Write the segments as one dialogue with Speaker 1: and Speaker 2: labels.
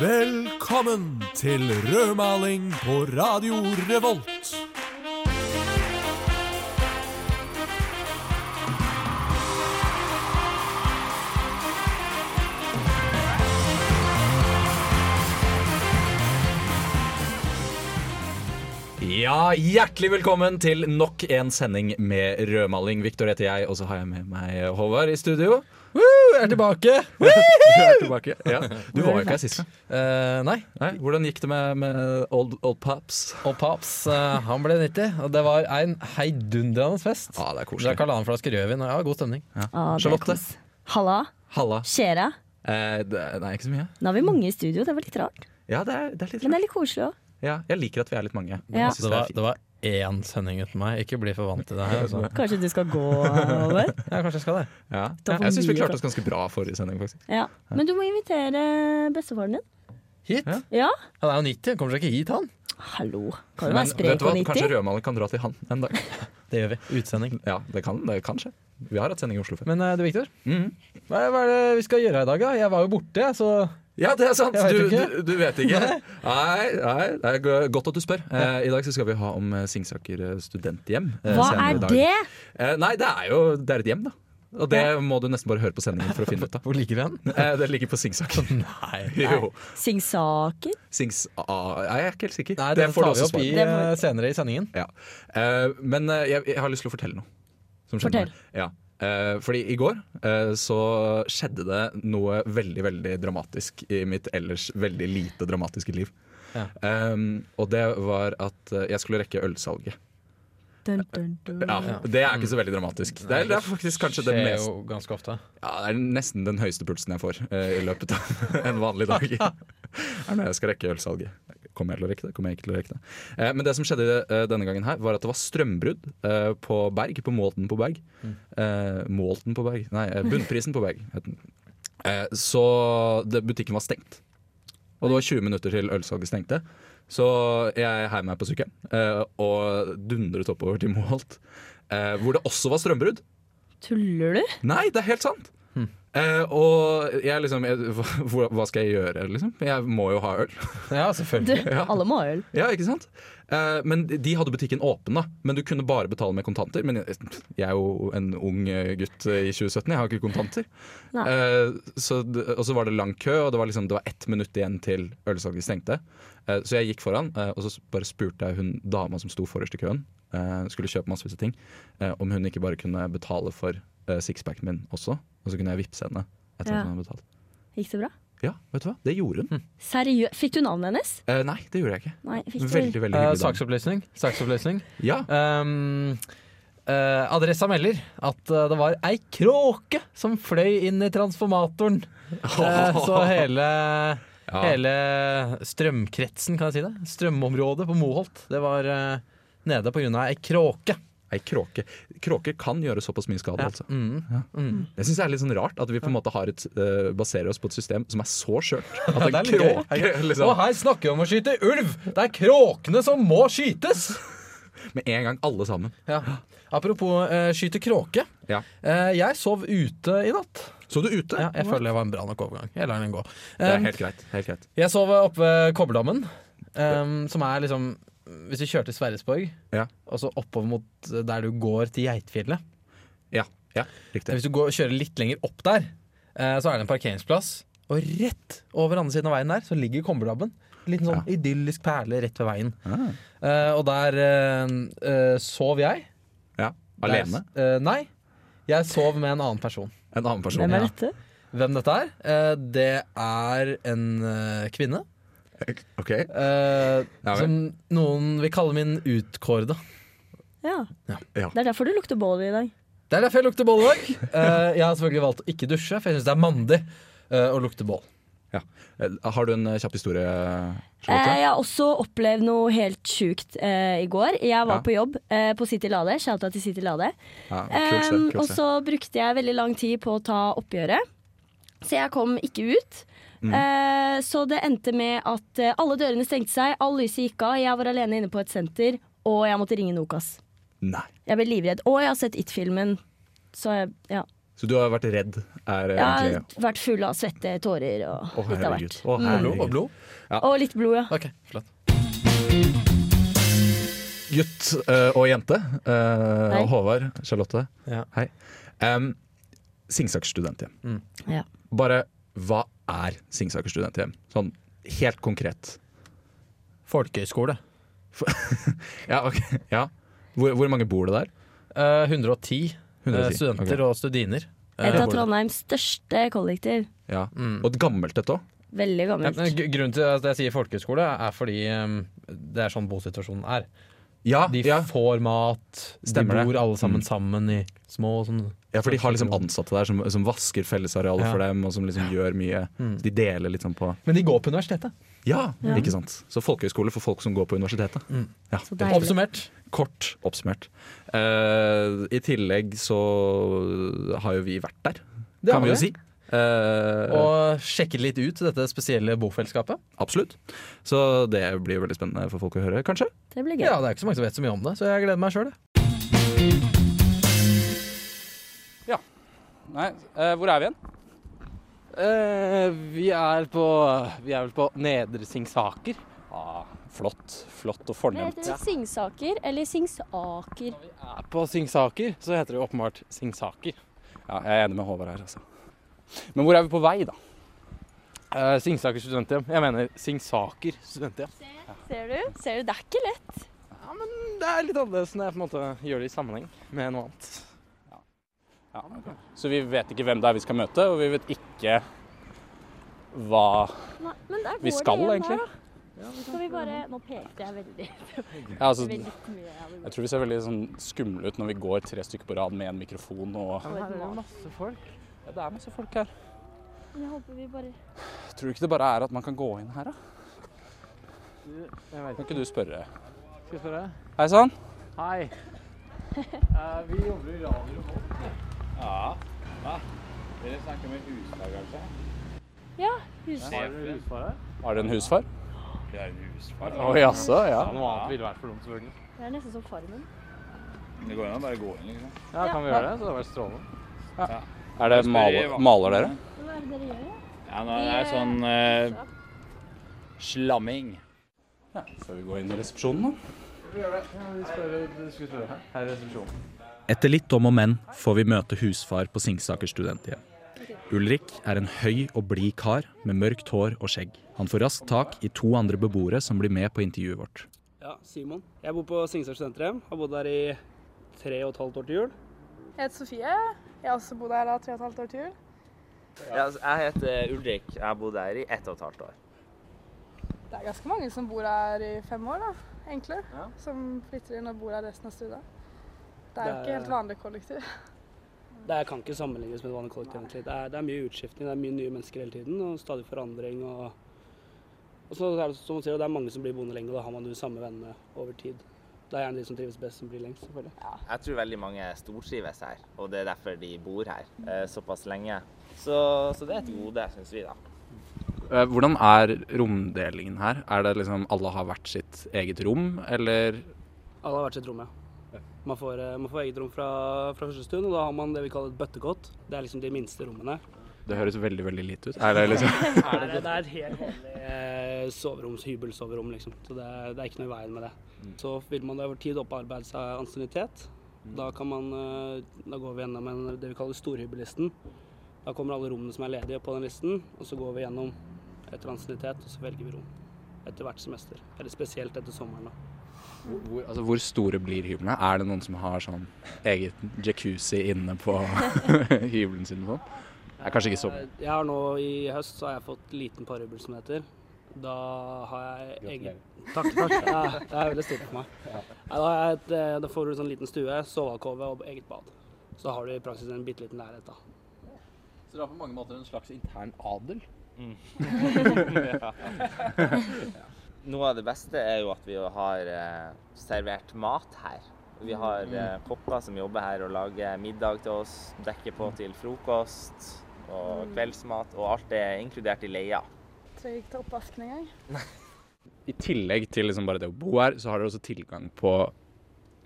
Speaker 1: Velkommen til rødmaling på Radio Revolt.
Speaker 2: Ja, Hjertelig velkommen til nok en sending med rødmaling. Victor heter jeg, og så har jeg med meg Håvard i studio.
Speaker 3: Woo, jeg er tilbake! Woo!
Speaker 2: Du er tilbake. Ja. Du var jo ikke her sist.
Speaker 3: Eh, nei.
Speaker 2: Nei, hvordan gikk det med, med old, old Pops?
Speaker 3: Og Paps, eh, han ble 90. Og det var en heidundrende fest.
Speaker 2: Ja, Ah, det er
Speaker 3: Drakk
Speaker 2: koselig.
Speaker 3: halvannen flaske rødvin. og Ja, god stemning.
Speaker 4: Ah, det er
Speaker 2: Charlotte?
Speaker 4: kos. Halla.
Speaker 2: Halla.
Speaker 4: Kjære.
Speaker 2: Eh, det, nei, ikke så mye.
Speaker 4: Nå er vi mange i studio, det var litt rart.
Speaker 2: Ja, det er, det er litt
Speaker 4: Men det
Speaker 2: rart.
Speaker 4: er litt koselig òg.
Speaker 2: Ja, jeg liker at vi er litt mange.
Speaker 4: Ja.
Speaker 2: Jeg
Speaker 3: Det
Speaker 2: synes det
Speaker 3: var,
Speaker 2: er
Speaker 3: det
Speaker 2: fint.
Speaker 3: var én sending uten meg. Ikke bli for vant til det her. Altså.
Speaker 4: Kanskje du skal gå over?
Speaker 3: Ja, kanskje jeg skal det.
Speaker 2: Ja.
Speaker 4: det var
Speaker 2: Jeg syns vi
Speaker 4: mye
Speaker 2: klarte oss ganske bra forrige sending, faktisk.
Speaker 4: Ja. Men du må invitere bestefaren din.
Speaker 3: Hit?
Speaker 2: Ja.
Speaker 4: Ja?
Speaker 3: Han er jo 90, han kommer seg ikke hit, han.
Speaker 4: Hallo. Kan du
Speaker 2: Men
Speaker 4: være
Speaker 2: vet
Speaker 4: sprek
Speaker 2: du hva,
Speaker 4: og
Speaker 2: kanskje
Speaker 4: 90?
Speaker 2: rødmaling kan dra til han en dag.
Speaker 3: Det gjør vi. Utsending.
Speaker 2: Ja, det kan, det kan skje. Vi har hatt sending i Oslo før.
Speaker 3: Men eh, du, Victor,
Speaker 2: Mhm.
Speaker 3: hva er, hva er det vi skal gjøre i dag? da? Jeg var jo borte, jeg, så
Speaker 2: Ja, det er sant!
Speaker 3: Jeg
Speaker 2: Du,
Speaker 3: vet
Speaker 2: du,
Speaker 3: ikke.
Speaker 2: du vet ikke. Nei, nei, det er go- godt at du spør. Eh, I dag så skal vi ha om eh, Singsaker eh, studenthjem. eh,
Speaker 4: Hva
Speaker 2: senere i
Speaker 4: er
Speaker 2: dag.
Speaker 4: det?
Speaker 2: Eh, nei, det er jo det er et hjem, da. Og det må du nesten bare høre på sendingen for å finne ut av.
Speaker 3: Hvor liker vi han?
Speaker 2: Eh, det ligger på Singsaker.
Speaker 3: Nei.
Speaker 2: Jo.
Speaker 4: Singsaker?
Speaker 2: Sings... Ah, jeg er ikke helt sikker.
Speaker 3: Nei, det,
Speaker 2: du
Speaker 3: tar vi
Speaker 2: også
Speaker 3: opp i,
Speaker 2: svare
Speaker 4: Det får-
Speaker 3: eh, senere i sendingen.
Speaker 2: på. Ja. Eh, men eh, jeg, jeg har lyst til å fortelle noe. som skjedde
Speaker 4: Fortell.
Speaker 2: meg. Ja. Eh, fordi i går eh, så skjedde det noe veldig, veldig dramatisk i mitt ellers veldig lite dramatiske liv.
Speaker 3: Ja.
Speaker 2: Eh, og det var at eh, jeg skulle rekke ølsalget.
Speaker 4: Dun, dun, dun.
Speaker 2: Ja, Det er ikke så veldig dramatisk. Det er, det er faktisk kanskje det
Speaker 3: skjer
Speaker 2: mest
Speaker 3: jo ganske ofte.
Speaker 2: Ja, Det er nesten den høyeste pulsen jeg får eh, i løpet av en vanlig dag. Det er når jeg skal rekke ølsalget. Kommer jeg til å rekke det? Kommer jeg ikke til å rekke det? Eh, men det som skjedde eh, denne gangen her, var at det var strømbrudd eh, på Berg. På Målten på Berg. Eh, Målten på Berg? Nei, eh, Bunnprisen på Berg het den. Eh, så det, butikken var stengt. Og det var 20 minutter til ølsalget stengte. Så jeg heiv meg på sykkelen eh, og dundret oppover til Målt, eh, hvor det også var strømbrudd.
Speaker 4: Tuller du?
Speaker 2: Nei, det er helt sant. Eh, og jeg liksom jeg, hva, hva skal jeg gjøre, liksom? Jeg må jo ha øl.
Speaker 3: Ja,
Speaker 4: du?
Speaker 3: selvfølgelig.
Speaker 4: Alle må ha øl.
Speaker 2: ja, ikke sant? Eh, men de- de hadde butikken åpen, da. Men du kunne bare betale med kontanter. Men jeg, jeg er jo en ung eh, gutt eh, i 2017, jeg har ikke kontanter.
Speaker 4: Nei.
Speaker 2: Eh, så, d- og så var det lang kø, og det var, liksom, det var ett minutt igjen til ølsalget stengte. Eh, så jeg gikk foran, eh, og så s- bare spurte jeg hun dama som sto forrest i køen, eh, skulle kjøpe masse ting, eh, om hun ikke bare kunne betale for eh, sixpacken min også. Og så kunne jeg vippse henne etter
Speaker 4: Ja. Hm.
Speaker 2: at hun hadde betalt.
Speaker 4: Gikk det bra?
Speaker 2: Ja, vet du hva? Det gjorde hun.
Speaker 4: Seriøst? Fikk du navnet hennes?
Speaker 2: Eh, nei, det gjorde jeg ikke.
Speaker 4: Nei, fikk du
Speaker 2: Veldig, veldig
Speaker 3: Eh,
Speaker 2: hyggelig. dame.
Speaker 3: saksopplysning. saksopplysning.
Speaker 2: Ja,
Speaker 3: Ehm, eh, adressa melder at eh, det var ei kråke som fløy inn i transformatoren. Eh, så hele,
Speaker 2: Ja.
Speaker 3: hele strømkretsen, kan jeg si det, strømområdet på Moholt, det var eh, nede pga. ei kråke.
Speaker 2: Ei kråke. Kråker kan gjøre såpass mye skade, altså.
Speaker 3: Mm.
Speaker 2: Ja. Jeg synes det er litt sånn rart at vi på en måte har et, eh, baserer oss på et system som er så skjørt. At en
Speaker 3: det er litt gøy.
Speaker 2: kråke
Speaker 3: Og
Speaker 2: liksom,
Speaker 3: her snakker vi om å skyte ulv! Det er kråkene som må skytes!
Speaker 2: med en gang, alle sammen.
Speaker 3: Ja. Apropos eh, skyte kråke.
Speaker 2: Ja.
Speaker 3: Eh, jeg sov ute i natt.
Speaker 2: Så du ute?
Speaker 3: Ja, jeg føler det var en bra nok overgang. Jeg lar den gå.
Speaker 2: Det
Speaker 3: Eh,
Speaker 2: er helt greit. Helt greit.
Speaker 3: Jeg sov oppe ved Kobberdammen, ehm, som er liksom Hvis du kjører til Sverresborg,
Speaker 2: Ja.
Speaker 3: og så oppover mot eh, der du går til Geitfjellet
Speaker 2: Ja, ja riktig.
Speaker 3: Hvis du går, kjører litt lenger opp der, eh, så er det en parkeringsplass. Og rett over andre siden av veien der så ligger Kobberdammen. En liten sånn idyllisk perle rett ved veien.
Speaker 2: Ah.
Speaker 3: Eh, og der eh, eh, sov jeg.
Speaker 2: Ja. Alene?
Speaker 3: Der, eh, nei. Jeg sov med en annen person.
Speaker 2: En annen person.
Speaker 4: Hvem
Speaker 3: Ja.
Speaker 4: er dette?
Speaker 3: Hvem dette er? Eh, det er en eh, kvinne.
Speaker 2: Ok.
Speaker 3: Eh,
Speaker 2: Ja vel.
Speaker 3: som noen vil kalle min utkårede.
Speaker 4: Ja.
Speaker 3: Ja.
Speaker 2: Ja.
Speaker 4: Det er derfor du lukter bål i dag.
Speaker 3: Det er derfor jeg lukter bål i dag. Eh, jeg har selvfølgelig valgt å ikke dusje, for jeg syns det er mandig eh, å lukte bål.
Speaker 2: Ja. Eh, Har du en eh, kjapp historie,
Speaker 4: Eh,
Speaker 2: Charlotte?
Speaker 4: jeg har også opplevd noe helt sjukt eh, i går. Jeg var
Speaker 2: Ja.
Speaker 4: på jobb eh, på City Lade. Shouta til City Lade.
Speaker 2: Ja, kult sted.
Speaker 4: Em, Um, og
Speaker 2: Kult sted.
Speaker 4: så brukte jeg veldig lang tid på å ta oppgjøret, så jeg kom ikke ut.
Speaker 2: Mm.
Speaker 4: Eh, så det endte med at eh, alle dørene stengte seg, all lyset gikk av, jeg var alene inne på et senter, og jeg måtte ringe Nokas.
Speaker 2: Nei.
Speaker 4: Jeg ble livredd. Og jeg har sett It-filmen, så jeg, ja.
Speaker 2: Så du har vært redd? Er eh,
Speaker 4: Jeg har
Speaker 2: egentlig
Speaker 4: vært full av svette, tårer og
Speaker 2: Å,
Speaker 4: litt av
Speaker 2: herregud.
Speaker 4: hvert.
Speaker 2: Å,
Speaker 3: Blod og
Speaker 2: herregud.
Speaker 3: blod?
Speaker 4: Og litt blod, ja.
Speaker 3: Ok, flott.
Speaker 2: Gutt eh, og jente. eh,
Speaker 4: Hei.
Speaker 2: og Håvard, Charlotte,
Speaker 3: Ja.
Speaker 2: hei. Um, Singsaker studenthjem.
Speaker 4: ja.
Speaker 2: Bare hva er Singsaker studenthjem? Sånn helt konkret.
Speaker 3: Folkehøyskole.
Speaker 2: Ja, ok. ja. Hvor, hvor mange bor det der?
Speaker 3: Eh, 110, eh,
Speaker 2: 110,
Speaker 3: studenter
Speaker 2: ok.
Speaker 3: og studiner. eh,
Speaker 4: Et av
Speaker 3: bor der.
Speaker 4: Trondheims største kollektiv.
Speaker 2: Ja.
Speaker 3: Mm.
Speaker 2: Og et gammelt et òg.
Speaker 4: Veldig
Speaker 3: Ja,
Speaker 4: gammelt.
Speaker 3: men gr- grunnen til at jeg sier folkehøyskole, er fordi ehm, det er sånn bosituasjonen er.
Speaker 2: Ja,
Speaker 3: De
Speaker 2: ja.
Speaker 3: får mat,
Speaker 2: Stemmer
Speaker 3: de
Speaker 2: det.
Speaker 3: bor alle sammen
Speaker 2: Mm.
Speaker 3: sammen i små sånn
Speaker 2: ja, for de har liksom ansatte der som, som vasker fellesarealet
Speaker 3: Ja. Mm.
Speaker 2: for dem, og som liksom gjør mye. Så de deler litt sånn på
Speaker 3: Men de går på universitetet.
Speaker 2: ja, ikke sant. Så folkehøyskole for folk som går på universitetet.
Speaker 3: Mm.
Speaker 2: Ja.
Speaker 4: Så deilig.
Speaker 3: Oppsummert.
Speaker 2: Kort oppsummert. Eh, I tillegg så har jo vi vært der,
Speaker 3: Det
Speaker 2: kan
Speaker 3: har
Speaker 2: vi jo
Speaker 3: vi.
Speaker 2: si. Eh,
Speaker 3: Og sjekke litt ut dette spesielle bofellesskapet.
Speaker 2: absolutt. Så det blir jo veldig spennende for folk å høre, kanskje.
Speaker 4: Det blir gøy.
Speaker 3: Ja, Det er ikke så mange som vet så mye om det, så jeg gleder meg sjøl.
Speaker 5: Nei, eh, hvor er vi igjen? Eh, vi er på Vi er vel på Nedre Singsaker. Ah, flott. Flott og
Speaker 4: Det
Speaker 5: fornemt.
Speaker 4: heter Singsaker eller Singsaker.
Speaker 5: Vi er på Singsaker, så heter det jo åpenbart Singsaker. Ja, jeg er enig med Håvard her, altså. Men hvor er vi på vei, da? Eh, Singsaker studenthjem. Jeg mener Singsaker studenthjem.
Speaker 4: Ser du? Ser du? Det er ikke lett.
Speaker 5: Ja, men det er litt annerledes når jeg på en måte gjør det i sammenheng med noe annet. Ja. Ja. Så vi vet ikke hvem det er vi skal møte, og vi vet ikke hva
Speaker 4: Nei, men der går
Speaker 5: vi skal,
Speaker 4: det igjen
Speaker 5: egentlig.
Speaker 4: der, da. Skal vi bare Nå pekte jeg veldig,
Speaker 5: Ja, altså, jeg
Speaker 4: veldig mye. Jeg vil-
Speaker 5: tror vi ser veldig sånn skumle ut når vi går tre stykker på rad med en mikrofon og
Speaker 4: men her er det jo
Speaker 5: masse folk. Ja, det er masse folk her.
Speaker 4: Jeg håper vi bare
Speaker 5: Tror du ikke det bare er at man kan gå inn her, da? Kan ikke du spørre?
Speaker 6: Skal jeg spørre?
Speaker 5: Hei sånn. sann.
Speaker 6: Hei. Eh, vi jobber i radio og folk.
Speaker 4: Ja, huset.
Speaker 6: Har dere husfare?
Speaker 5: Har du en husfar? Vi har en husfar. Å jaså, ja.
Speaker 6: Noe annet ville vært for dumt, selvfølgelig.
Speaker 4: Det er nesten som Farmen.
Speaker 6: Ja, kan vi gjøre det? Så det hadde vært strålende.
Speaker 5: Er det maler, maler dere?
Speaker 4: Hva er det dere gjør?
Speaker 7: Ja, nå er det sånn eh, slamming.
Speaker 5: Skal vi gå inn i resepsjonen,
Speaker 6: Her er resepsjonen.
Speaker 2: Etter litt om og men får vi møte husfar på Singsaker studenthjem. Ulrik er en høy og blid kar med mørkt hår og skjegg. Han får raskt tak i to andre beboere som blir med på intervjuet vårt.
Speaker 8: Ja, Simon. Jeg bor på Singstad studenterhjem. Har bodd der i tre og et halvt år til jul.
Speaker 9: Jeg heter Sofie. Jeg har også bodd her da tre og et halvt år til jul.
Speaker 10: Jeg heter Ulrik. Jeg har bodd her i ett og et halvt år.
Speaker 9: Det er ganske mange som bor her i fem år, da, egentlig. Som flytter inn og bor her resten av studiet. Det er jo
Speaker 8: Det
Speaker 9: ikke
Speaker 8: er-
Speaker 9: helt vanlig kollektiv.
Speaker 8: Det her kan ikke sammenlignes med et vanlig kollektiv. egentlig. Det er, det er mye utskiftning, det er mye nye mennesker hele tiden, og stadig forandring. Og, og så er det som man sier, det er mange som blir boende lenge, og da har man de samme vennene over tid. Det er gjerne de som trives best, som blir lengst, selvfølgelig.
Speaker 10: Jeg tror veldig mange stortrives her, og det er derfor de bor her eh, såpass lenge. Så, så det er et gode, syns vi, da.
Speaker 5: dere? Eh, Hvordan er romdelingen her? Er det liksom alle har hvert sitt eget rom, eller
Speaker 8: Alle har hvert sitt rom, ja. Man får, eh, man får eget rom fra, fra første stund, og da har man det vi kaller et bøttekott. Det er liksom de minste rommene.
Speaker 5: Det høres veldig, veldig lite ut. Er det liksom
Speaker 8: er det, det er et helt vanlig eh, soveroms, hybelsoverom, liksom. Så det er, det er ikke noe i veien med det. Så vil man over tid opparbeide seg ansiennitet. Da, kan man, eh, da går vi gjennom en, det vi kaller storhybellisten. Da kommer alle rommene som er ledige på den listen, og så går vi gjennom etter ansiennitet, og så velger vi rom. Etter hvert semester. Eller spesielt etter sommeren, da.
Speaker 5: hvor, altså, hvor store blir hyblene? Er det noen som har sånn eget jacuzzi inne på hybelen sin? og sånn? Det er kanskje ikke så
Speaker 8: Eh, Jeg har nå i høst så har jeg fått liten parhybel, som det heter. Da har jeg egen Takk, takk. Ja, det er veldig stort for meg. Nei, Da, har jeg et, eh, da får du en sånn liten stue, sovealkove og eget bad. Så da har du i praksis en bitte liten leilighet, da.
Speaker 6: Så dere har på mange måter en slags intern adel?
Speaker 10: Noe av det beste er jo at vi jo har eh, servert mat her. Vi har eh, kokker som jobber her og lager middag til oss, dekker på til frokost og kveldsmat, og alt er inkludert i leia.
Speaker 9: Trenger ikke ta oppvasken engang.
Speaker 5: I tillegg til liksom bare det å bo her, så har dere også tilgang på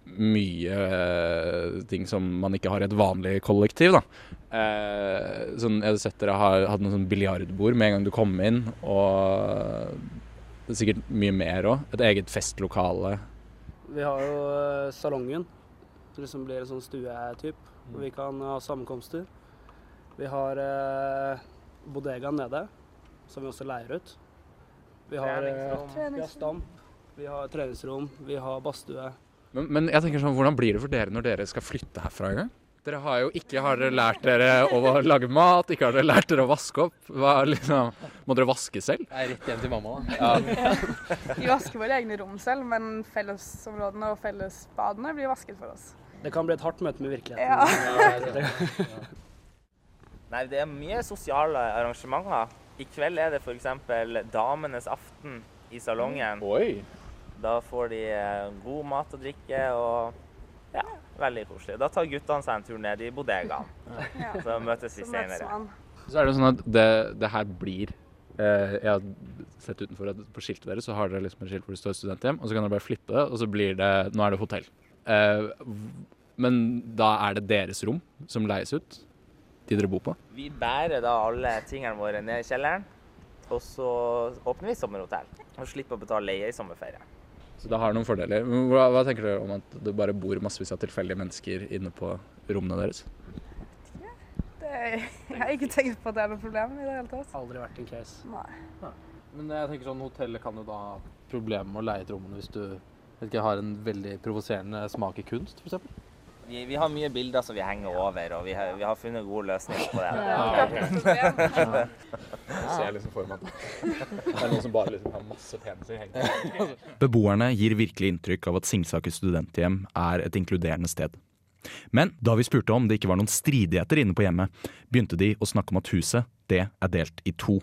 Speaker 5: mye eh, ting som man ikke har i et vanlig kollektiv. Da. Eh, sånn, jeg har sett dere har hatt noen sånn biljardbord med en gang du kom inn, og det er sikkert mye mer òg. Et eget festlokale.
Speaker 8: Vi har jo eh, salongen, som liksom blir en sånn stue-typ, hvor vi kan ha sammenkomster. Vi har eh, bodegaen nede, som vi også leier ut. Vi har, eh,
Speaker 9: Treningsrom.
Speaker 8: vi har stamp, vi har treningsrom, vi har badstue.
Speaker 5: Men, men jeg tenker sånn, hvordan blir det for dere når dere skal flytte herfra en gang? Dere har jo ikke har dere lært dere å lage mat, ikke har dere lært dere å vaske opp. Hva, er liksom, må dere vaske selv?
Speaker 6: Jeg er rett hjem til mamma, da.
Speaker 9: Vi vasker våre egne rom selv, men fellesområdene og fellesbadene blir vasket for oss.
Speaker 8: Det kan bli et hardt møte med virkeligheten.
Speaker 9: Ja.
Speaker 10: Nei, det er mye sosiale arrangementer. I kveld er det f.eks. Damenes aften i salongen.
Speaker 5: Oi.
Speaker 10: Da får de eh, god mat og drikke og ja, veldig koselig. Da tar guttene seg en tur ned i bodegaen.
Speaker 9: Ja.
Speaker 10: Så møtes vi
Speaker 9: Så møtes
Speaker 10: senere.
Speaker 9: man.
Speaker 5: Så er det sånn at det, det her blir eh, Jeg har sett utenfor at på skiltet deres så har dere liksom et skilt hvor det står studenthjem, og så kan dere bare flippe det, og så blir det Nå er det hotell. Eh, v- men da er det deres rom som leies ut? De dere bor på?
Speaker 10: Vi bærer da alle tingene våre ned i kjelleren, og så åpner vi sommerhotell. Og slipper å betale leie i sommerferie.
Speaker 5: Så det har noen fordeler. Men Hva, hva tenker dere om at det bare bor massevis av tilfeldige mennesker inne på rommene deres?
Speaker 9: Det, jeg har ikke tenkt på at det er noe problem i det hele tatt.
Speaker 8: Aldri vært en case.
Speaker 9: Nei.
Speaker 6: Men jeg tenker sånn, hotellet kan jo da ha problemer med å leie ut rommene hvis du vet ikke, har en veldig provoserende smak i kunst, f.eks.
Speaker 10: Vi, vi har mye bilder som vi henger over, og vi har, vi har funnet gode løsninger på
Speaker 9: Ja,
Speaker 10: det.
Speaker 5: Jeg ser liksom for meg at det er noen som bare liksom har masse peniser hengende.
Speaker 2: Beboerne gir virkelig inntrykk av at Singsaker studenthjem er et inkluderende sted. Men da vi spurte om det ikke var noen stridigheter inne på hjemmet, begynte de å snakke om at huset, det er delt i to.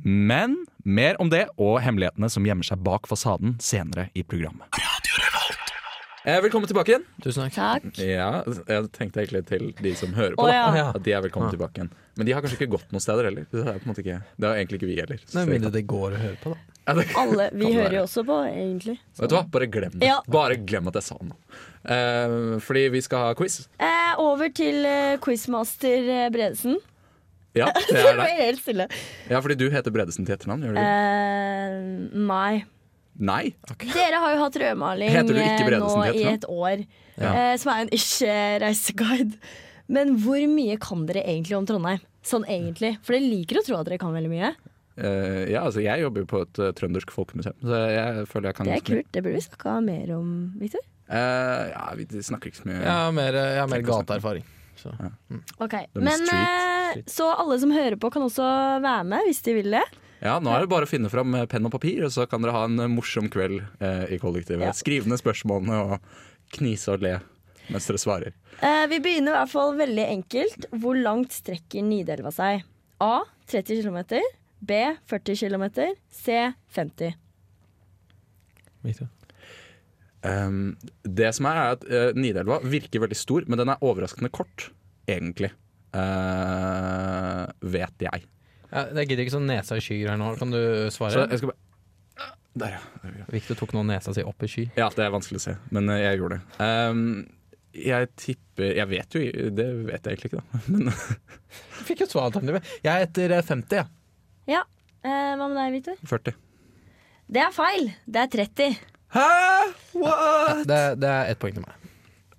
Speaker 2: Men mer om det og hemmelighetene som gjemmer seg bak fasaden senere i programmet.
Speaker 5: Eh, velkommen tilbake igjen.
Speaker 3: Tusen
Speaker 4: Takk.
Speaker 2: Ja, jeg tenkte egentlig til de som hører på,
Speaker 4: Å,
Speaker 2: da,
Speaker 4: ja.
Speaker 2: at de er velkommen tilbake igjen. Men de har kanskje ikke gått noen steder heller. Det er på en måte ikke, det har egentlig ikke vi heller.
Speaker 3: Nei, mindre det går å høre på, da.
Speaker 2: Ja, det-
Speaker 4: Alle,
Speaker 2: Kan
Speaker 4: vi
Speaker 2: det
Speaker 4: hører
Speaker 2: være.
Speaker 4: jo også på, egentlig.
Speaker 2: Vet du hva, bare glem det.
Speaker 4: Ja.
Speaker 2: Bare glem at jeg sa noe. Eh, fordi vi skal ha quiz.
Speaker 4: Eh, over til eh, quizmaster eh, Bredesen.
Speaker 2: Ja, det
Speaker 4: Det
Speaker 2: er
Speaker 4: ble
Speaker 2: deg.
Speaker 4: helt stille.
Speaker 2: Ja, fordi du heter Bredesen til etternavn, gjør du ikke?
Speaker 4: Eh, nei.
Speaker 2: Nei.
Speaker 4: Dere har jo hatt rødmaling
Speaker 2: Heter du ikke
Speaker 4: eh, nå
Speaker 2: Bredesen til
Speaker 4: i
Speaker 2: etternavn?
Speaker 4: et år,
Speaker 2: Ja.
Speaker 4: eh, som er en ikke-reiseguide. Men hvor mye kan dere egentlig om Trondheim? Sånn egentlig. For dere liker å tro at dere kan veldig mye.
Speaker 2: Eh, ja, altså jeg jobber jo på et eh, trøndersk folkemuseum, så
Speaker 3: eh,
Speaker 2: jeg føler jeg kan
Speaker 4: Det er
Speaker 2: ganske mye.
Speaker 4: kult. Det burde vi snakka mer om, Victor.
Speaker 2: Eh, ja, vi snakker ikke så mye.
Speaker 3: Jeg har mer, jeg har mer
Speaker 2: Tenk å snakke.
Speaker 3: gateerfaring. Så.
Speaker 4: Ok,
Speaker 2: er
Speaker 4: Men
Speaker 2: street.
Speaker 4: eh, så alle som hører på, kan også være med hvis de vil det.
Speaker 2: Ja, nå er det bare å finne fram eh, penn og papir, og så kan dere ha en eh, morsom kveld eh, i kollektivet.
Speaker 4: Ja.
Speaker 2: Skriv ned spørsmålene og knise og le mens dere svarer.
Speaker 4: Eh, vi begynner i hvert fall veldig enkelt. Hvor langt strekker Nidelva seg? A. 30 km. B. 40 km. C. 50.
Speaker 2: Um, det som er, er at eh, Nidelva virker veldig stor, men den er overraskende kort, egentlig. Eh, vet jeg.
Speaker 3: Ja, jeg gidder ikke sånn nesa i skyer her nå. Kan du
Speaker 2: Så
Speaker 3: svare?
Speaker 2: jeg skal bare Der, ja. Der, ja.
Speaker 3: Victor tok nå nesa si opp i sky.
Speaker 2: Ja, det er vanskelig å se, men eh, jeg gjorde det. Ehm, jeg tipper Jeg vet jo Det vet jeg egentlig ikke, da. Men eh,
Speaker 3: Fikk jo svaralternativet. Jeg er etter eh, 50, ja.
Speaker 4: Ja. Eh, hva med deg, Victor?
Speaker 2: 40.
Speaker 4: Det er feil. Det er 30.
Speaker 2: Hæ?! What?!
Speaker 3: Det, det er ett poeng til meg.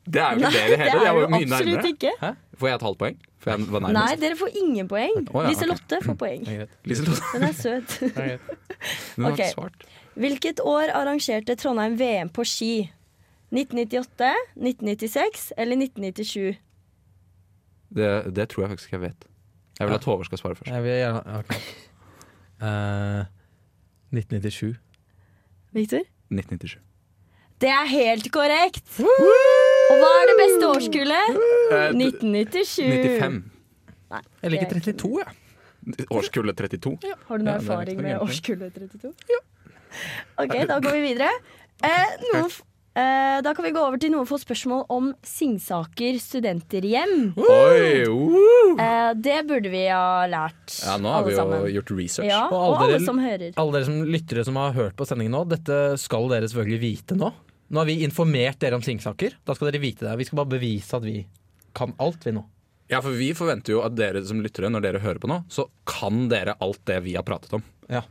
Speaker 2: Det er jo
Speaker 4: Nei,
Speaker 2: ikke dere heller. Jeg var jo
Speaker 4: det
Speaker 2: mye
Speaker 4: absolutt
Speaker 2: nærmere.
Speaker 4: ikke.
Speaker 2: Får jeg et halvt poeng? For jeg var
Speaker 4: Nei,
Speaker 2: nærmest.
Speaker 4: dere får ingen poeng.
Speaker 2: Å, ja, Mm.
Speaker 4: Liselotte får poeng.
Speaker 3: Det er greit.
Speaker 2: Liselotte,
Speaker 4: Hun er søt.
Speaker 2: du har ikke
Speaker 4: Ok.
Speaker 2: svart.
Speaker 4: Hvilket år arrangerte Trondheim VM på ski? 1998, 1996 eller 1997?
Speaker 2: Det, det tror jeg faktisk jeg vet. Jeg vil at Håvard skal svare først.
Speaker 3: Jeg vil gjerne ok. Eh, 1997.
Speaker 4: Victor?
Speaker 2: 1997.
Speaker 4: Det er helt korrekt. Og hva er det beste årskullet?
Speaker 2: Eh,
Speaker 4: 1997.
Speaker 2: 95.
Speaker 3: Jeg liker 32, jeg. Ja.
Speaker 2: Årskullet 32.
Speaker 4: Har du noe
Speaker 2: Ja, det er liksom
Speaker 4: erfaring
Speaker 2: riktig,
Speaker 4: med
Speaker 2: egentlig.
Speaker 4: årskullet 32? Ja. OK, da går vi videre. Eh, noen, f- eh, da kan vi gå over til noen få spørsmål om Singsaker studenterhjem.
Speaker 2: Oi! woo!
Speaker 4: Eh, det burde vi ha lært,
Speaker 2: Ja, nå har
Speaker 4: alle
Speaker 2: vi
Speaker 4: sammen.
Speaker 2: jo gjort research.
Speaker 4: Ja,
Speaker 3: Og
Speaker 4: og
Speaker 3: alle
Speaker 4: alle
Speaker 3: dere-
Speaker 4: som hører.
Speaker 3: Alle dere som lyttere som har hørt på sendingen nå, dette skal dere selvfølgelig vite nå. Nå har vi informert dere om Singsaker. Da skal dere vite det. Vi skal bare bevise at vi kan alt, vi nå.
Speaker 2: Ja, for vi forventer jo at dere som lyttere, når dere hører på nå, så kan dere alt det vi har pratet om.
Speaker 3: Ja.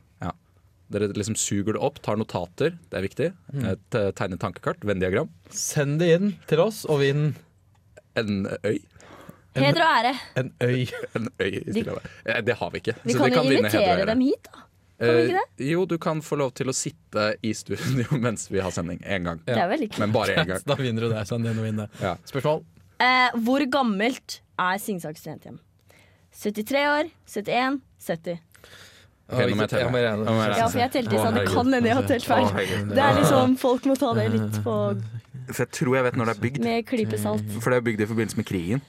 Speaker 2: Dere liksom suger det opp, tar notater, det er viktig.
Speaker 3: Mm.
Speaker 2: Et, eh, Tegne tankekart, Venn-diagram.
Speaker 3: Send det inn til oss og vinn
Speaker 2: En øy.
Speaker 4: Heder og ære.
Speaker 3: En øy.
Speaker 2: En øy i
Speaker 4: De-
Speaker 2: Stillehavet. Eh, Det har vi ikke.
Speaker 4: Vi
Speaker 2: så
Speaker 4: kan
Speaker 2: de
Speaker 4: jo
Speaker 2: vinne heder og
Speaker 4: invitere
Speaker 2: ære.
Speaker 4: dem hit, da. Kan vi ikke
Speaker 2: Eh, jo, du kan få lov til å sitte i studio mens vi har sending. Én gang.
Speaker 4: Det er veldig kult.
Speaker 2: Men bare én gang.
Speaker 3: Da vinner du det. Send det inn og vinn det.
Speaker 2: Ja.
Speaker 3: Spørsmål?
Speaker 4: Eh, hvor gammelt er Singsaker studenthjem? 73 år, 71, 70.
Speaker 2: Ok, nå må jeg telle.
Speaker 3: Ja, men jeg-
Speaker 2: Nå må jeg
Speaker 4: Ja, for jeg telte i sånn. Det
Speaker 2: herregud.
Speaker 4: kan hende jeg har telt feil.
Speaker 2: Å, herregud.
Speaker 4: Det er liksom, Folk må ta det litt på
Speaker 2: For jeg tror jeg vet når det er bygd.
Speaker 4: med klypesalt.
Speaker 2: For det er bygd i forbindelse med krigen.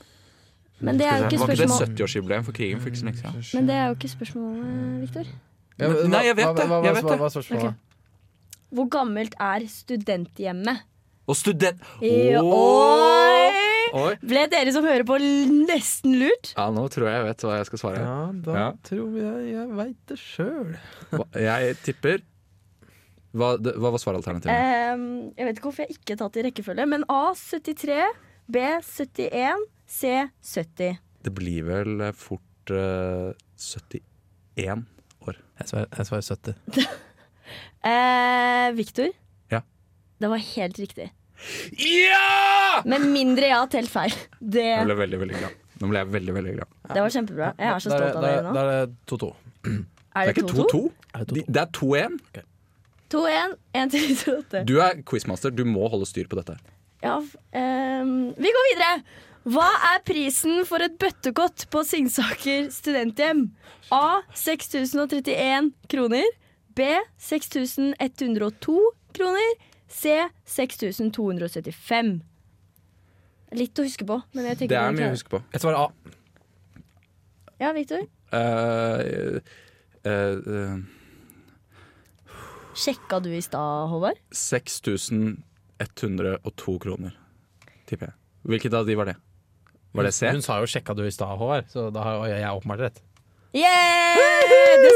Speaker 4: Men det er jo ikke
Speaker 2: Var ikke det
Speaker 4: spørsmål
Speaker 2: 70-årsjubileum for krigen for ikke så lenge siden?
Speaker 4: Men det er jo ikke eh, spørsmålet, Viktor.
Speaker 3: Ja,
Speaker 2: Nei,
Speaker 3: hva-
Speaker 2: jeg vet
Speaker 3: hva-
Speaker 2: det.
Speaker 3: hva-
Speaker 2: Jeg
Speaker 3: hva-
Speaker 2: vet
Speaker 3: hva-
Speaker 2: det.
Speaker 3: Hva er spørsmålet?
Speaker 4: Hvor gammelt er studenthjemmet?
Speaker 2: Og student...
Speaker 4: I- Oi!
Speaker 2: Oi.
Speaker 4: Ble dere som hører på, l- nesten lurt?
Speaker 2: Ja, nå tror jeg jeg vet hva jeg skal svare.
Speaker 3: Ja, da
Speaker 2: Ja.
Speaker 3: tror jeg jeg veit det sjøl.
Speaker 2: Hva- Jeg tipper Hva, det, hva var svaralternativet?
Speaker 4: Ehm, jeg vet ikke hvorfor jeg ikke har tatt det i rekkefølge, men A 73, B 71, C 70.
Speaker 2: Det blir vel fort eh, 71 år.
Speaker 3: Jeg svarer, jeg svarer 70.
Speaker 4: Eh, Viktor?
Speaker 2: Ja.
Speaker 4: Det var helt riktig.
Speaker 2: Ja!
Speaker 4: Med mindre jeg har telt feil. Det,
Speaker 2: Jeg ble veldig, veldig glad. Nå ble jeg veldig, veldig glad.
Speaker 4: det var kjempebra. Jeg er så stolt av dere nå.
Speaker 3: Da er det 2-2.
Speaker 4: Er
Speaker 2: Det er
Speaker 4: det
Speaker 2: ikke
Speaker 4: 2-2?
Speaker 2: 2-2. De- Det er 2-1.
Speaker 4: 2-1, 1-3-2-8.
Speaker 2: Du er quizmaster, du må holde styr på dette.
Speaker 4: Ja, f- ehm, vi går videre. Hva er prisen for et bøttekott på Singsaker studenthjem? A 6031 kroner. B 6102 kroner. C 6275. Litt å huske på, men jeg tenker
Speaker 2: Det er
Speaker 4: vi
Speaker 2: mye å
Speaker 4: klarer.
Speaker 2: huske på.
Speaker 3: Jeg svarer A.
Speaker 4: Ja, Victor?
Speaker 2: Eh, eh, eh,
Speaker 4: Sjekka du i stad, Håvard?
Speaker 2: 6102 kroner, tipper jeg. Hvilket av de var det? Var det C?
Speaker 3: Hun sa jo 'sjekka du i stad', Håvard, så da har jeg åpenbart rett.
Speaker 4: Yeah! Det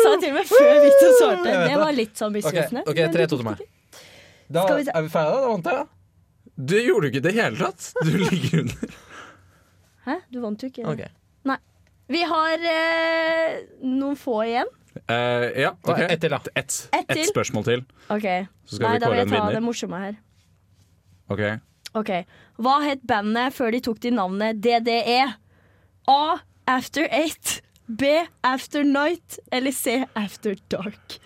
Speaker 4: sa jeg til og med før Victor svarte. Det var litt sånn misvisende.
Speaker 3: ok,
Speaker 4: men
Speaker 3: 3-2
Speaker 4: du tok
Speaker 3: til
Speaker 4: det
Speaker 3: meg.
Speaker 4: ikke.
Speaker 3: Da
Speaker 4: Skal vi se.
Speaker 3: er vi ferdige, da, vant jeg. da.
Speaker 2: Det gjorde du ikke i det hele tatt! Du ligger under.
Speaker 4: Hæ? Du vant jo ikke.
Speaker 3: Ok.
Speaker 4: Vi har eh, noen få igjen.
Speaker 2: Eh, ja,
Speaker 3: Da
Speaker 2: ok.
Speaker 3: er det Ett til, da.
Speaker 2: Ett
Speaker 4: Ett
Speaker 2: ett
Speaker 4: til.
Speaker 2: spørsmål til,
Speaker 4: Ok,
Speaker 2: så skal
Speaker 4: Nei,
Speaker 2: vi
Speaker 4: da vil
Speaker 2: kåre
Speaker 4: jeg
Speaker 2: en
Speaker 4: ta det
Speaker 2: vinner.
Speaker 4: morsomme her.
Speaker 2: Ok.
Speaker 4: Ok, Hva het bandet før de tok til navnet DDE? A. After Eight. B. After Night. Eller C. After Dark.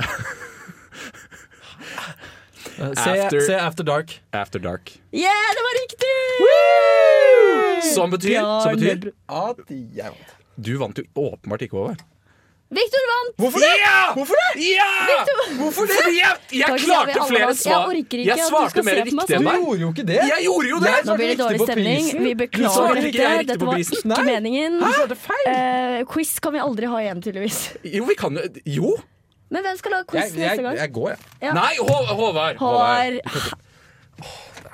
Speaker 3: Eh,
Speaker 2: After-
Speaker 3: Se, se After Dark.
Speaker 2: After Dark.
Speaker 4: Yeah, det var riktig!
Speaker 2: Som betyr, som betyr
Speaker 4: Bjarne-
Speaker 2: Du vant jo åpenbart ikke, Håvard.
Speaker 4: Victor vant!
Speaker 2: Hvorfor det?! Ja! Hvorfor det?! Ja! Hvorfor det? Fordi jeg,
Speaker 4: Kan
Speaker 2: jeg
Speaker 4: ikke si at vi
Speaker 2: klarte
Speaker 4: alle
Speaker 2: flere
Speaker 4: vant. Jeg
Speaker 2: svar.
Speaker 4: orker ikke at
Speaker 2: Jeg
Speaker 4: du
Speaker 2: svarte
Speaker 4: skal
Speaker 2: mer
Speaker 4: se på meg
Speaker 2: riktig enn
Speaker 4: sånn.
Speaker 2: meg.
Speaker 3: jo ikke det!
Speaker 2: Jeg gjorde jo det!
Speaker 4: Nå blir det dårlig stemning. Vi beklager
Speaker 2: svarte ikke
Speaker 4: dette.
Speaker 2: jeg riktig
Speaker 4: Dette
Speaker 2: på
Speaker 4: var
Speaker 2: prisen.
Speaker 4: ikke meningen.
Speaker 3: svarte feil!
Speaker 4: Eh, quiz kan vi aldri ha igjen, tydeligvis.
Speaker 2: Jo, vi kan jo Jo!
Speaker 4: Men hvem skal lage quiz
Speaker 3: Jeg, jeg,
Speaker 4: neste gang?
Speaker 3: jeg går, jeg.
Speaker 4: Ja.
Speaker 2: Nei, Hå Håvard! Håvard.
Speaker 4: Har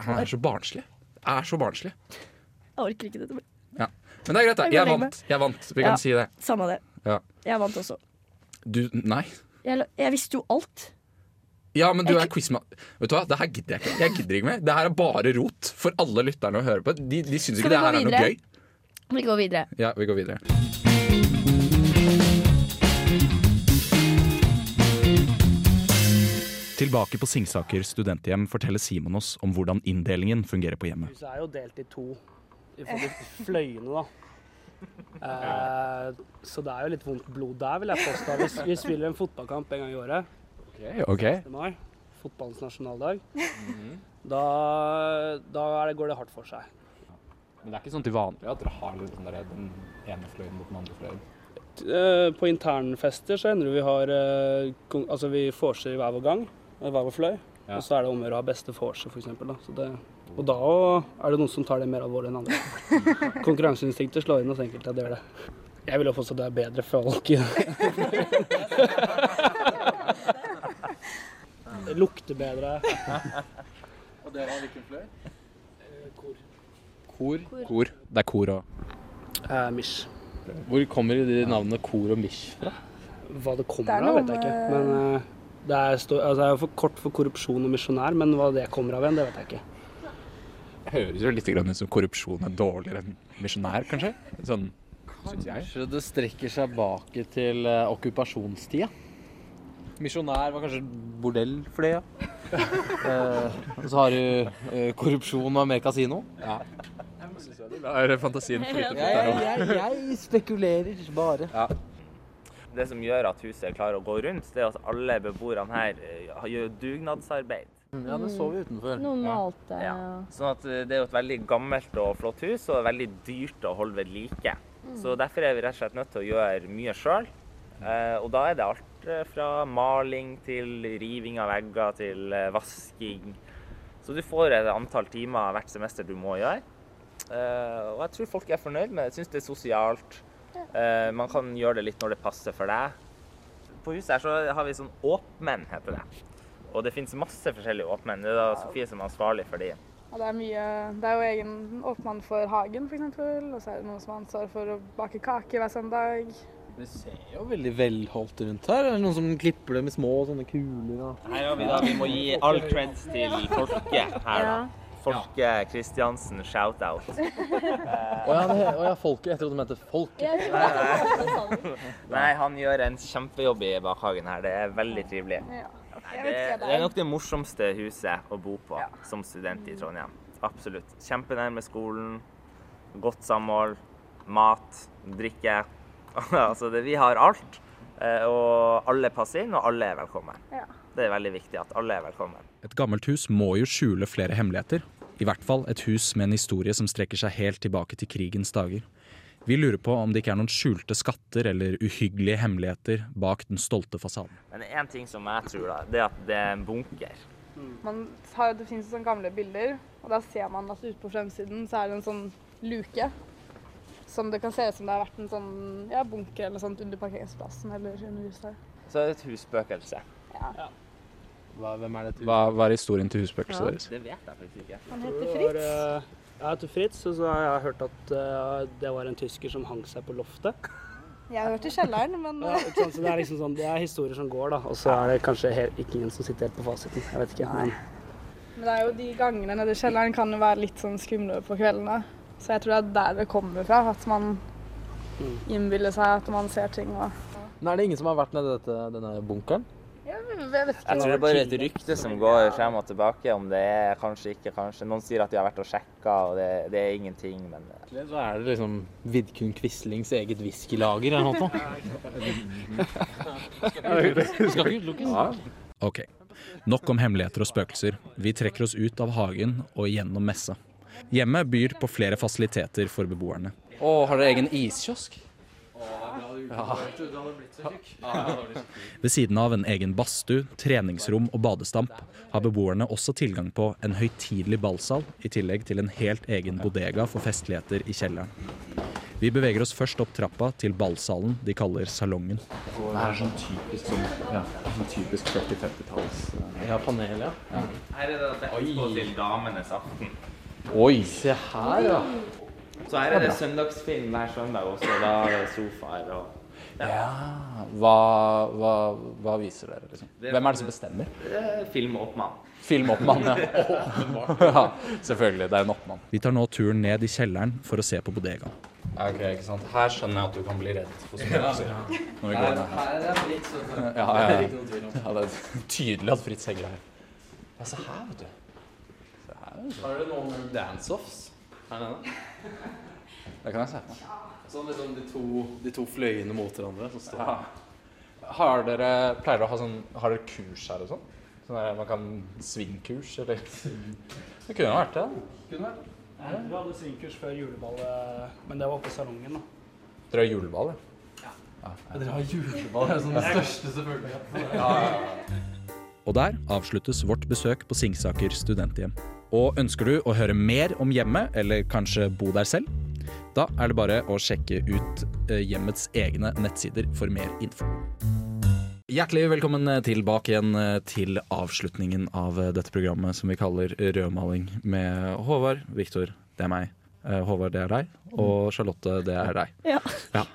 Speaker 2: Han er så barnslig. Er så barnslig.
Speaker 4: Jeg orker ikke dette.
Speaker 2: Ja. Men det er greit, da.
Speaker 4: Jeg
Speaker 2: Jeg
Speaker 4: går og
Speaker 2: vant. Jeg vant. Vi
Speaker 4: Ja.
Speaker 2: kan si det.
Speaker 4: Samme det.
Speaker 2: Ja.
Speaker 4: Jeg vant også.
Speaker 2: Du Nei.
Speaker 4: Jeg, la- jeg visste jo alt.
Speaker 2: Ja, men du
Speaker 4: Jeg
Speaker 2: er quizman. Vet du hva, det her gidder jeg ikke. Jeg gidder ikke mer. Det her er bare rot for alle lytterne å høre på. De, de syns ikke
Speaker 4: Skal vi
Speaker 2: det
Speaker 4: gå
Speaker 2: her er noe
Speaker 4: videre?
Speaker 2: gøy.
Speaker 4: Vi går videre.
Speaker 2: Ja, vi går videre. Tilbake på Singsaker studenthjem forteller Simon oss om hvordan inndelingen fungerer på hjemmet.
Speaker 8: Huset er jo delt i to i forhold til fløyene, da. Eh, så det er jo litt vondt blod der, vil jeg påstå. Vi, vi spiller en fotballkamp en gang i året.
Speaker 5: OK. Mhm.
Speaker 8: 1. mai, fotballens nasjonaldag. Da, da er det, går det hardt for seg.
Speaker 5: Men det er ikke sånn til vanlig at dere har litt sånn der den ene fløyen mot den andre fløyen?
Speaker 8: Eh, På internfester så hender det vi har eh, kon- Altså vi vorser i hver vår gang, eh, hver vår fløy.
Speaker 5: Ja.
Speaker 8: Og så er det om å gjøre å ha beste vorse, f.eks. Og da òg er det noen som tar det mer alvorlig enn andre. Konkurranseinstinktet slår inn hos enkelte, det gjør det. Jeg vil jo påstå det er bedre folk. Det lukter bedre.
Speaker 5: Kor. Kor. Det er kor òg.
Speaker 8: Eh, mish.
Speaker 5: Hvor kommer de navnene kor og mish fra?
Speaker 8: Hva det
Speaker 9: Det
Speaker 8: kommer
Speaker 9: er
Speaker 8: av,
Speaker 9: noe
Speaker 8: vet jeg ikke.
Speaker 9: med-
Speaker 8: Men eh, Det er, stå, altså, det er jo for kort for korrupsjon og misjonær, men hva det kommer av igjen, det vet jeg ikke.
Speaker 5: Høres jo litt grann ut som korrupsjon er dårligere enn misjonær, kanskje? Sånn, synes jeg.
Speaker 6: Kanskje det strekker seg bak til eh, okkupasjonstida. Misjonær var kanskje bordell for det, ja. Eh, og så har du eh, korrupsjon og mer kasino. Ja.
Speaker 5: Der fantasien flyter fritt der også.
Speaker 6: jeg spekulerer bare.
Speaker 10: Ja. Det som gjør at huset klarer å gå rundt, det er at alle beboerne her eh, har- gjør dugnadsarbeid.
Speaker 6: Ja, det så vi utenfor.
Speaker 4: Noen malte
Speaker 10: Ja.
Speaker 4: og
Speaker 10: Sånn at eh, det er jo et veldig gammelt og flott hus, og veldig dyrt å holde ved like. Så derfor er vi rett og slett nødt til å gjøre mye sjøl. Og da er det alt eh, fra maling til riving av vegger til eh, vasking. Så du får et antall timer hvert semester du må gjøre. Eh, Og jeg tror folk er fornøyd med det. Jeg syns det er sosialt. Eh, Man kan gjøre det litt når det passer for deg. På huset her så har vi sånn åpmenn, heter det. Og det fins masse forskjellige åpmenn. Det er da Sofie som er ansvarlig for de.
Speaker 9: Ja, det er mye Det er jo egen åpmann for hagen, f.eks. Og så er det noen som har ansvar for å bake kake hver søndag.
Speaker 6: Det ser jo veldig velholdt rundt her. Er det noen som klipper det med små sånne kuler? Og...
Speaker 10: Her har vi da, vi må gi all creds til Folke her da. Folke Kristiansen, shout-out.
Speaker 6: Å ja, det, å ja, folket. Jeg trodde de het folket.
Speaker 10: Nei, han gjør en kjempejobb i bakhagen her. Det er veldig trivelig.
Speaker 9: Ja.
Speaker 10: Nei, Det, det er nok det morsomste huset å bo på som student i Trondheim. Absolutt. Kjempenærme skolen, godt samhold, mat, drikke. altså, det, vi har alt. eh, Og alle passer inn, og alle er velkommen.
Speaker 9: Ja.
Speaker 10: Det er veldig viktig at alle er velkommen.
Speaker 2: Et gammelt hus må jo skjule flere hemmeligheter. I hvert fall et hus med en historie som strekker seg helt tilbake til krigens dager. Vi lurer på om det ikke er noen skjulte skatter eller uhyggelige hemmeligheter bak den stolte fasaden.
Speaker 10: Men det er én ting som jeg tror, da, det er at det er en bunker.
Speaker 9: Man har, det finnes jo sånne gamle bilder, og da ser man at ute på fremsiden så er det en sånn luke. Som det kan se ut som det har vært en sånn ja, bunker eller noe sånt under parkeringsplassen eller under huset. her.
Speaker 10: Så er det et husspøkelse.
Speaker 6: Hva, hvem er det til?
Speaker 5: Hva, hva er historien til husspøkelset deres?
Speaker 10: Det vet jeg faktisk ikke.
Speaker 9: Han
Speaker 8: Det
Speaker 9: heter
Speaker 8: var,
Speaker 9: Fritz.
Speaker 8: eh, Jeg heter Fritz, og så har jeg hørt at eh, det var en tysker som hang seg på loftet.
Speaker 9: Jeg har hørt i kjelleren, men
Speaker 8: Ja, ikke sant? Så det er liksom sånn, det er historier som går, da. Og så er det kanskje helt, ikke ingen som sitter helt på fasiten. Jeg vet ikke. Men
Speaker 9: Men det er jo de gangene nede i kjelleren kan jo være litt sånn skumle på kveldene. Så jeg tror det er der det kommer fra, at man Mm. innbiller seg at man ser ting og
Speaker 6: Men er det ingen som har vært nedi dette, denne bunkeren?
Speaker 9: Jeg vet
Speaker 10: Jeg tror det
Speaker 9: ikke.
Speaker 10: er bare et rykte som går frem og tilbake, om det er kanskje ikke kanskje. Noen sier at de har vært og sjekka, og det, det er ingenting, men
Speaker 6: Eller så er det liksom Vidkun Quislings eget whiskylager eller noe sånt? Skal ikke utelukkes.
Speaker 2: Ok, nok om hemmeligheter og spøkelser. Vi trekker oss ut av hagen og gjennom messa. Hjemmet byr på flere fasiliteter for beboerne.
Speaker 5: Å, har dere egen iskiosk?
Speaker 2: Ved siden av en egen badstue, treningsrom og badestamp har beboerne også tilgang på en høytidelig ballsal, i tillegg til en helt egen bodega for festligheter i kjelleren. Vi beveger oss først opp trappa til ballsalen de kaller salongen.
Speaker 5: Det er sånn typisk, sånn typisk 40-50-talls
Speaker 6: Ja, panel, ja.
Speaker 10: Her er det etterpå til damenes aften.
Speaker 6: Oi! Se her, ja.
Speaker 10: Så her er det søndagsfilm hver søndag også, og da er det sofaer og
Speaker 5: Ja, hva, hva, hva viser dere, liksom? Hvem er det som bestemmer?
Speaker 10: eh, film og oppmann.
Speaker 5: Filmoppmann, ja. ja. Selvfølgelig, det er en oppmann.
Speaker 2: Vi tar nå turen ned i kjelleren for å se på bodegaen.
Speaker 5: Ok, ikke sant. Her skjønner jeg at du kan bli redd for spøkelser. Når vi går ned her.
Speaker 6: Her er Fritz.
Speaker 5: Ja, ja, ja. ja, det er tydelig at Fritz henger her. Ja, se her, vet du. Se her, vet du.
Speaker 6: Har dere noen dance-offs her nede?
Speaker 5: Det kan jeg se for meg.
Speaker 6: Sånn liksom de to, de to fløyene mot hverandre som står
Speaker 5: Ja. Har dere, pleier dere å ha sånn, har dere kurs her og sånn? Sånn der man kan svingkurs, eller? Det kunne jo vært det, da.
Speaker 8: jeg tror vi hadde svingkurs før juleballet, men det var oppe i salongen. da.
Speaker 5: Dere har juleball, ja.
Speaker 6: Dere har juleball, det er sånn det største selvfølgelig.
Speaker 2: Og der avsluttes vårt besøk på Singsaker studenthjem. Og ønsker du å høre mer om hjemmet, eller kanskje bo der selv? Da er det bare å sjekke ut eh, hjemmets egne nettsider for mer info. Hjertelig velkommen tilbake igjen eh, til avslutningen av eh, dette programmet som vi kaller Rødmaling med Håvard, Viktor, det er meg, eh, Håvard, det er deg, og Charlotte, det er deg.
Speaker 4: Ja.
Speaker 2: Ja.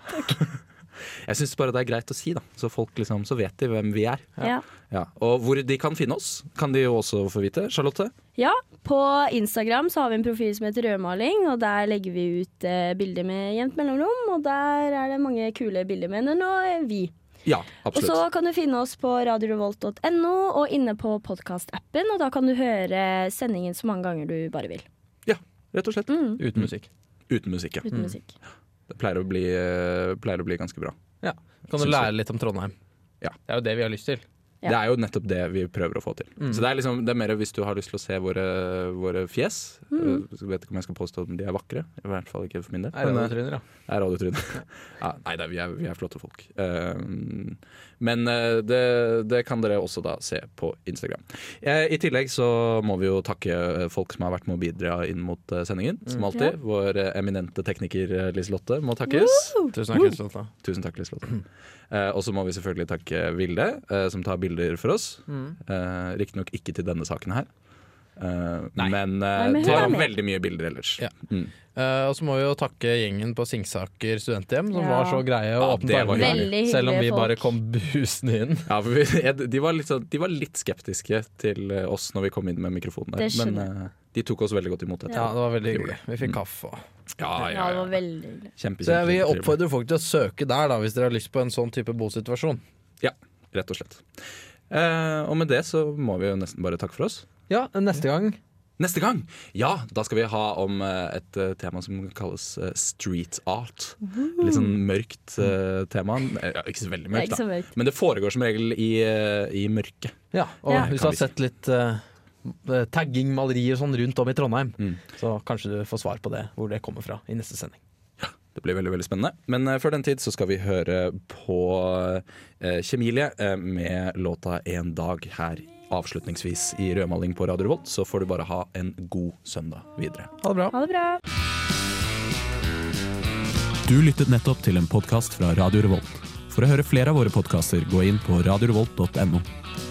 Speaker 2: Jeg syns bare det er greit å si, da. Så folk liksom, så vet de hvem vi er.
Speaker 4: Ja.
Speaker 2: Ja. Og hvor de kan finne oss, kan de jo også få vite. Charlotte?
Speaker 4: Ja, på Instagram så har vi en profil som heter Rødmaling, og der legger vi ut eh, bilder med jevnt mellomrom, og der er det mange kule bilder med henne og eh, vi.
Speaker 2: Ja,
Speaker 4: Og så
Speaker 2: absolutt.
Speaker 4: kan du finne oss på radiorevolt.no og inne på podkastappen, og da kan du høre sendingen så mange ganger du bare vil.
Speaker 2: Rett og slett.
Speaker 4: Mm,
Speaker 3: Uten musikk.
Speaker 2: Uten musikk, ja.
Speaker 4: uten musikk.
Speaker 2: Det pleier å bli, eh, pleier å bli ganske bra.
Speaker 3: Kan du
Speaker 2: Synes
Speaker 3: lære litt om Trondheim?
Speaker 2: Ja.
Speaker 3: Det er jo det vi har lyst til.
Speaker 4: Ja.
Speaker 2: Det er jo nettopp det vi prøver å få til.
Speaker 3: Mm.
Speaker 2: Så det er, liksom, det er mer hvis du har lyst til å se våre, våre fjes.
Speaker 4: Mm.
Speaker 2: Jeg vet ikke om jeg skal påstå at de er vakre. I hvert fall ikke for min del.
Speaker 3: Er det
Speaker 2: Men,
Speaker 3: noe, Trine, da?
Speaker 2: Det er radiotryne. Ja, nei, det er, vi, er, vi er flotte folk. Eh, men eh, det, det kan dere også da se på Instagram. Eh, I tillegg så må vi jo takke eh, folk som har vært med å bidra inn mot eh, sendingen,
Speaker 4: Mm,
Speaker 2: som alltid. Vår eh, eminente tekniker eh, Liselotte må takkes.
Speaker 3: Tusen takk, Kristian.
Speaker 2: Tusen takk, Liselotte. Eh, Og så må vi selvfølgelig takke Vilde, eh, som tar bilder for oss.
Speaker 4: Mm.
Speaker 2: Eh, Riktignok ikke til denne saken her. Eh, men eh,
Speaker 4: Nei, men hun
Speaker 2: tar
Speaker 4: er med.
Speaker 2: veldig mye bilder ellers.
Speaker 3: Ja.
Speaker 2: Mm.
Speaker 3: Eh, og så må vi jo takke gjengen på Singsaker studenthjem, som
Speaker 4: Ja.
Speaker 3: var så greie og
Speaker 2: Ja,
Speaker 3: åpnet
Speaker 2: det var
Speaker 3: armene,
Speaker 4: hyggelig. Veldig
Speaker 3: Selv om vi
Speaker 4: hyggelige
Speaker 3: bare
Speaker 4: folk.
Speaker 3: kom busende inn.
Speaker 2: Ja, for vi, jeg- de, var litt, sånn- de var litt skeptiske til eh, oss når vi kom inn med mikrofonen der.
Speaker 4: Det
Speaker 2: Men
Speaker 4: skjønner
Speaker 2: eh, de tok oss veldig godt imot etter.
Speaker 3: Ja, det var veldig
Speaker 2: Det
Speaker 3: hyggelig. Vi fikk kaffe og
Speaker 2: Ja,
Speaker 4: Ja,
Speaker 2: ja,
Speaker 4: det
Speaker 2: ja.
Speaker 4: var veldig hyggelig.
Speaker 2: Kjempe,
Speaker 3: Så jeg vil
Speaker 2: kjempe-
Speaker 3: oppfordre folk til å søke der, da, hvis dere har lyst på en sånn type bosituasjon.
Speaker 2: Rett og slett. Eh, og med det så må vi jo nesten bare takke for oss.
Speaker 3: Ja, neste gang
Speaker 2: Neste gang, ja, da skal vi ha om eh, et eh, tema som kalles eh, street art. Litt sånn mørkt eh, tema. Eh, Ja, ikke så veldig
Speaker 4: Det er
Speaker 2: mørkt,
Speaker 4: ikke så
Speaker 2: da.
Speaker 4: mørkt.
Speaker 2: Men det foregår som regel i, eh, i mørket.
Speaker 3: Ja, og
Speaker 4: Ja.
Speaker 3: hvis
Speaker 2: Kan
Speaker 3: du har
Speaker 2: vi si.
Speaker 3: sett litt eh, tagging, malerier og sånn rundt om i Trondheim,
Speaker 2: Mm.
Speaker 3: så kanskje du får svar på det, hvor det kommer fra, i neste sending.
Speaker 2: Det blir veldig veldig spennende. Men eh, før den tid så skal vi høre på eh, Kjemilie eh, med låta 'En dag' her avslutningsvis i rødmaling på Radio Revolt. Så får du bare ha en god søndag videre.
Speaker 3: Ha det bra.
Speaker 4: Ha det bra.
Speaker 1: Du lyttet nettopp til en podkast fra Radio Revolt. For å høre flere av våre podkaster, gå inn på radiorevolt.no.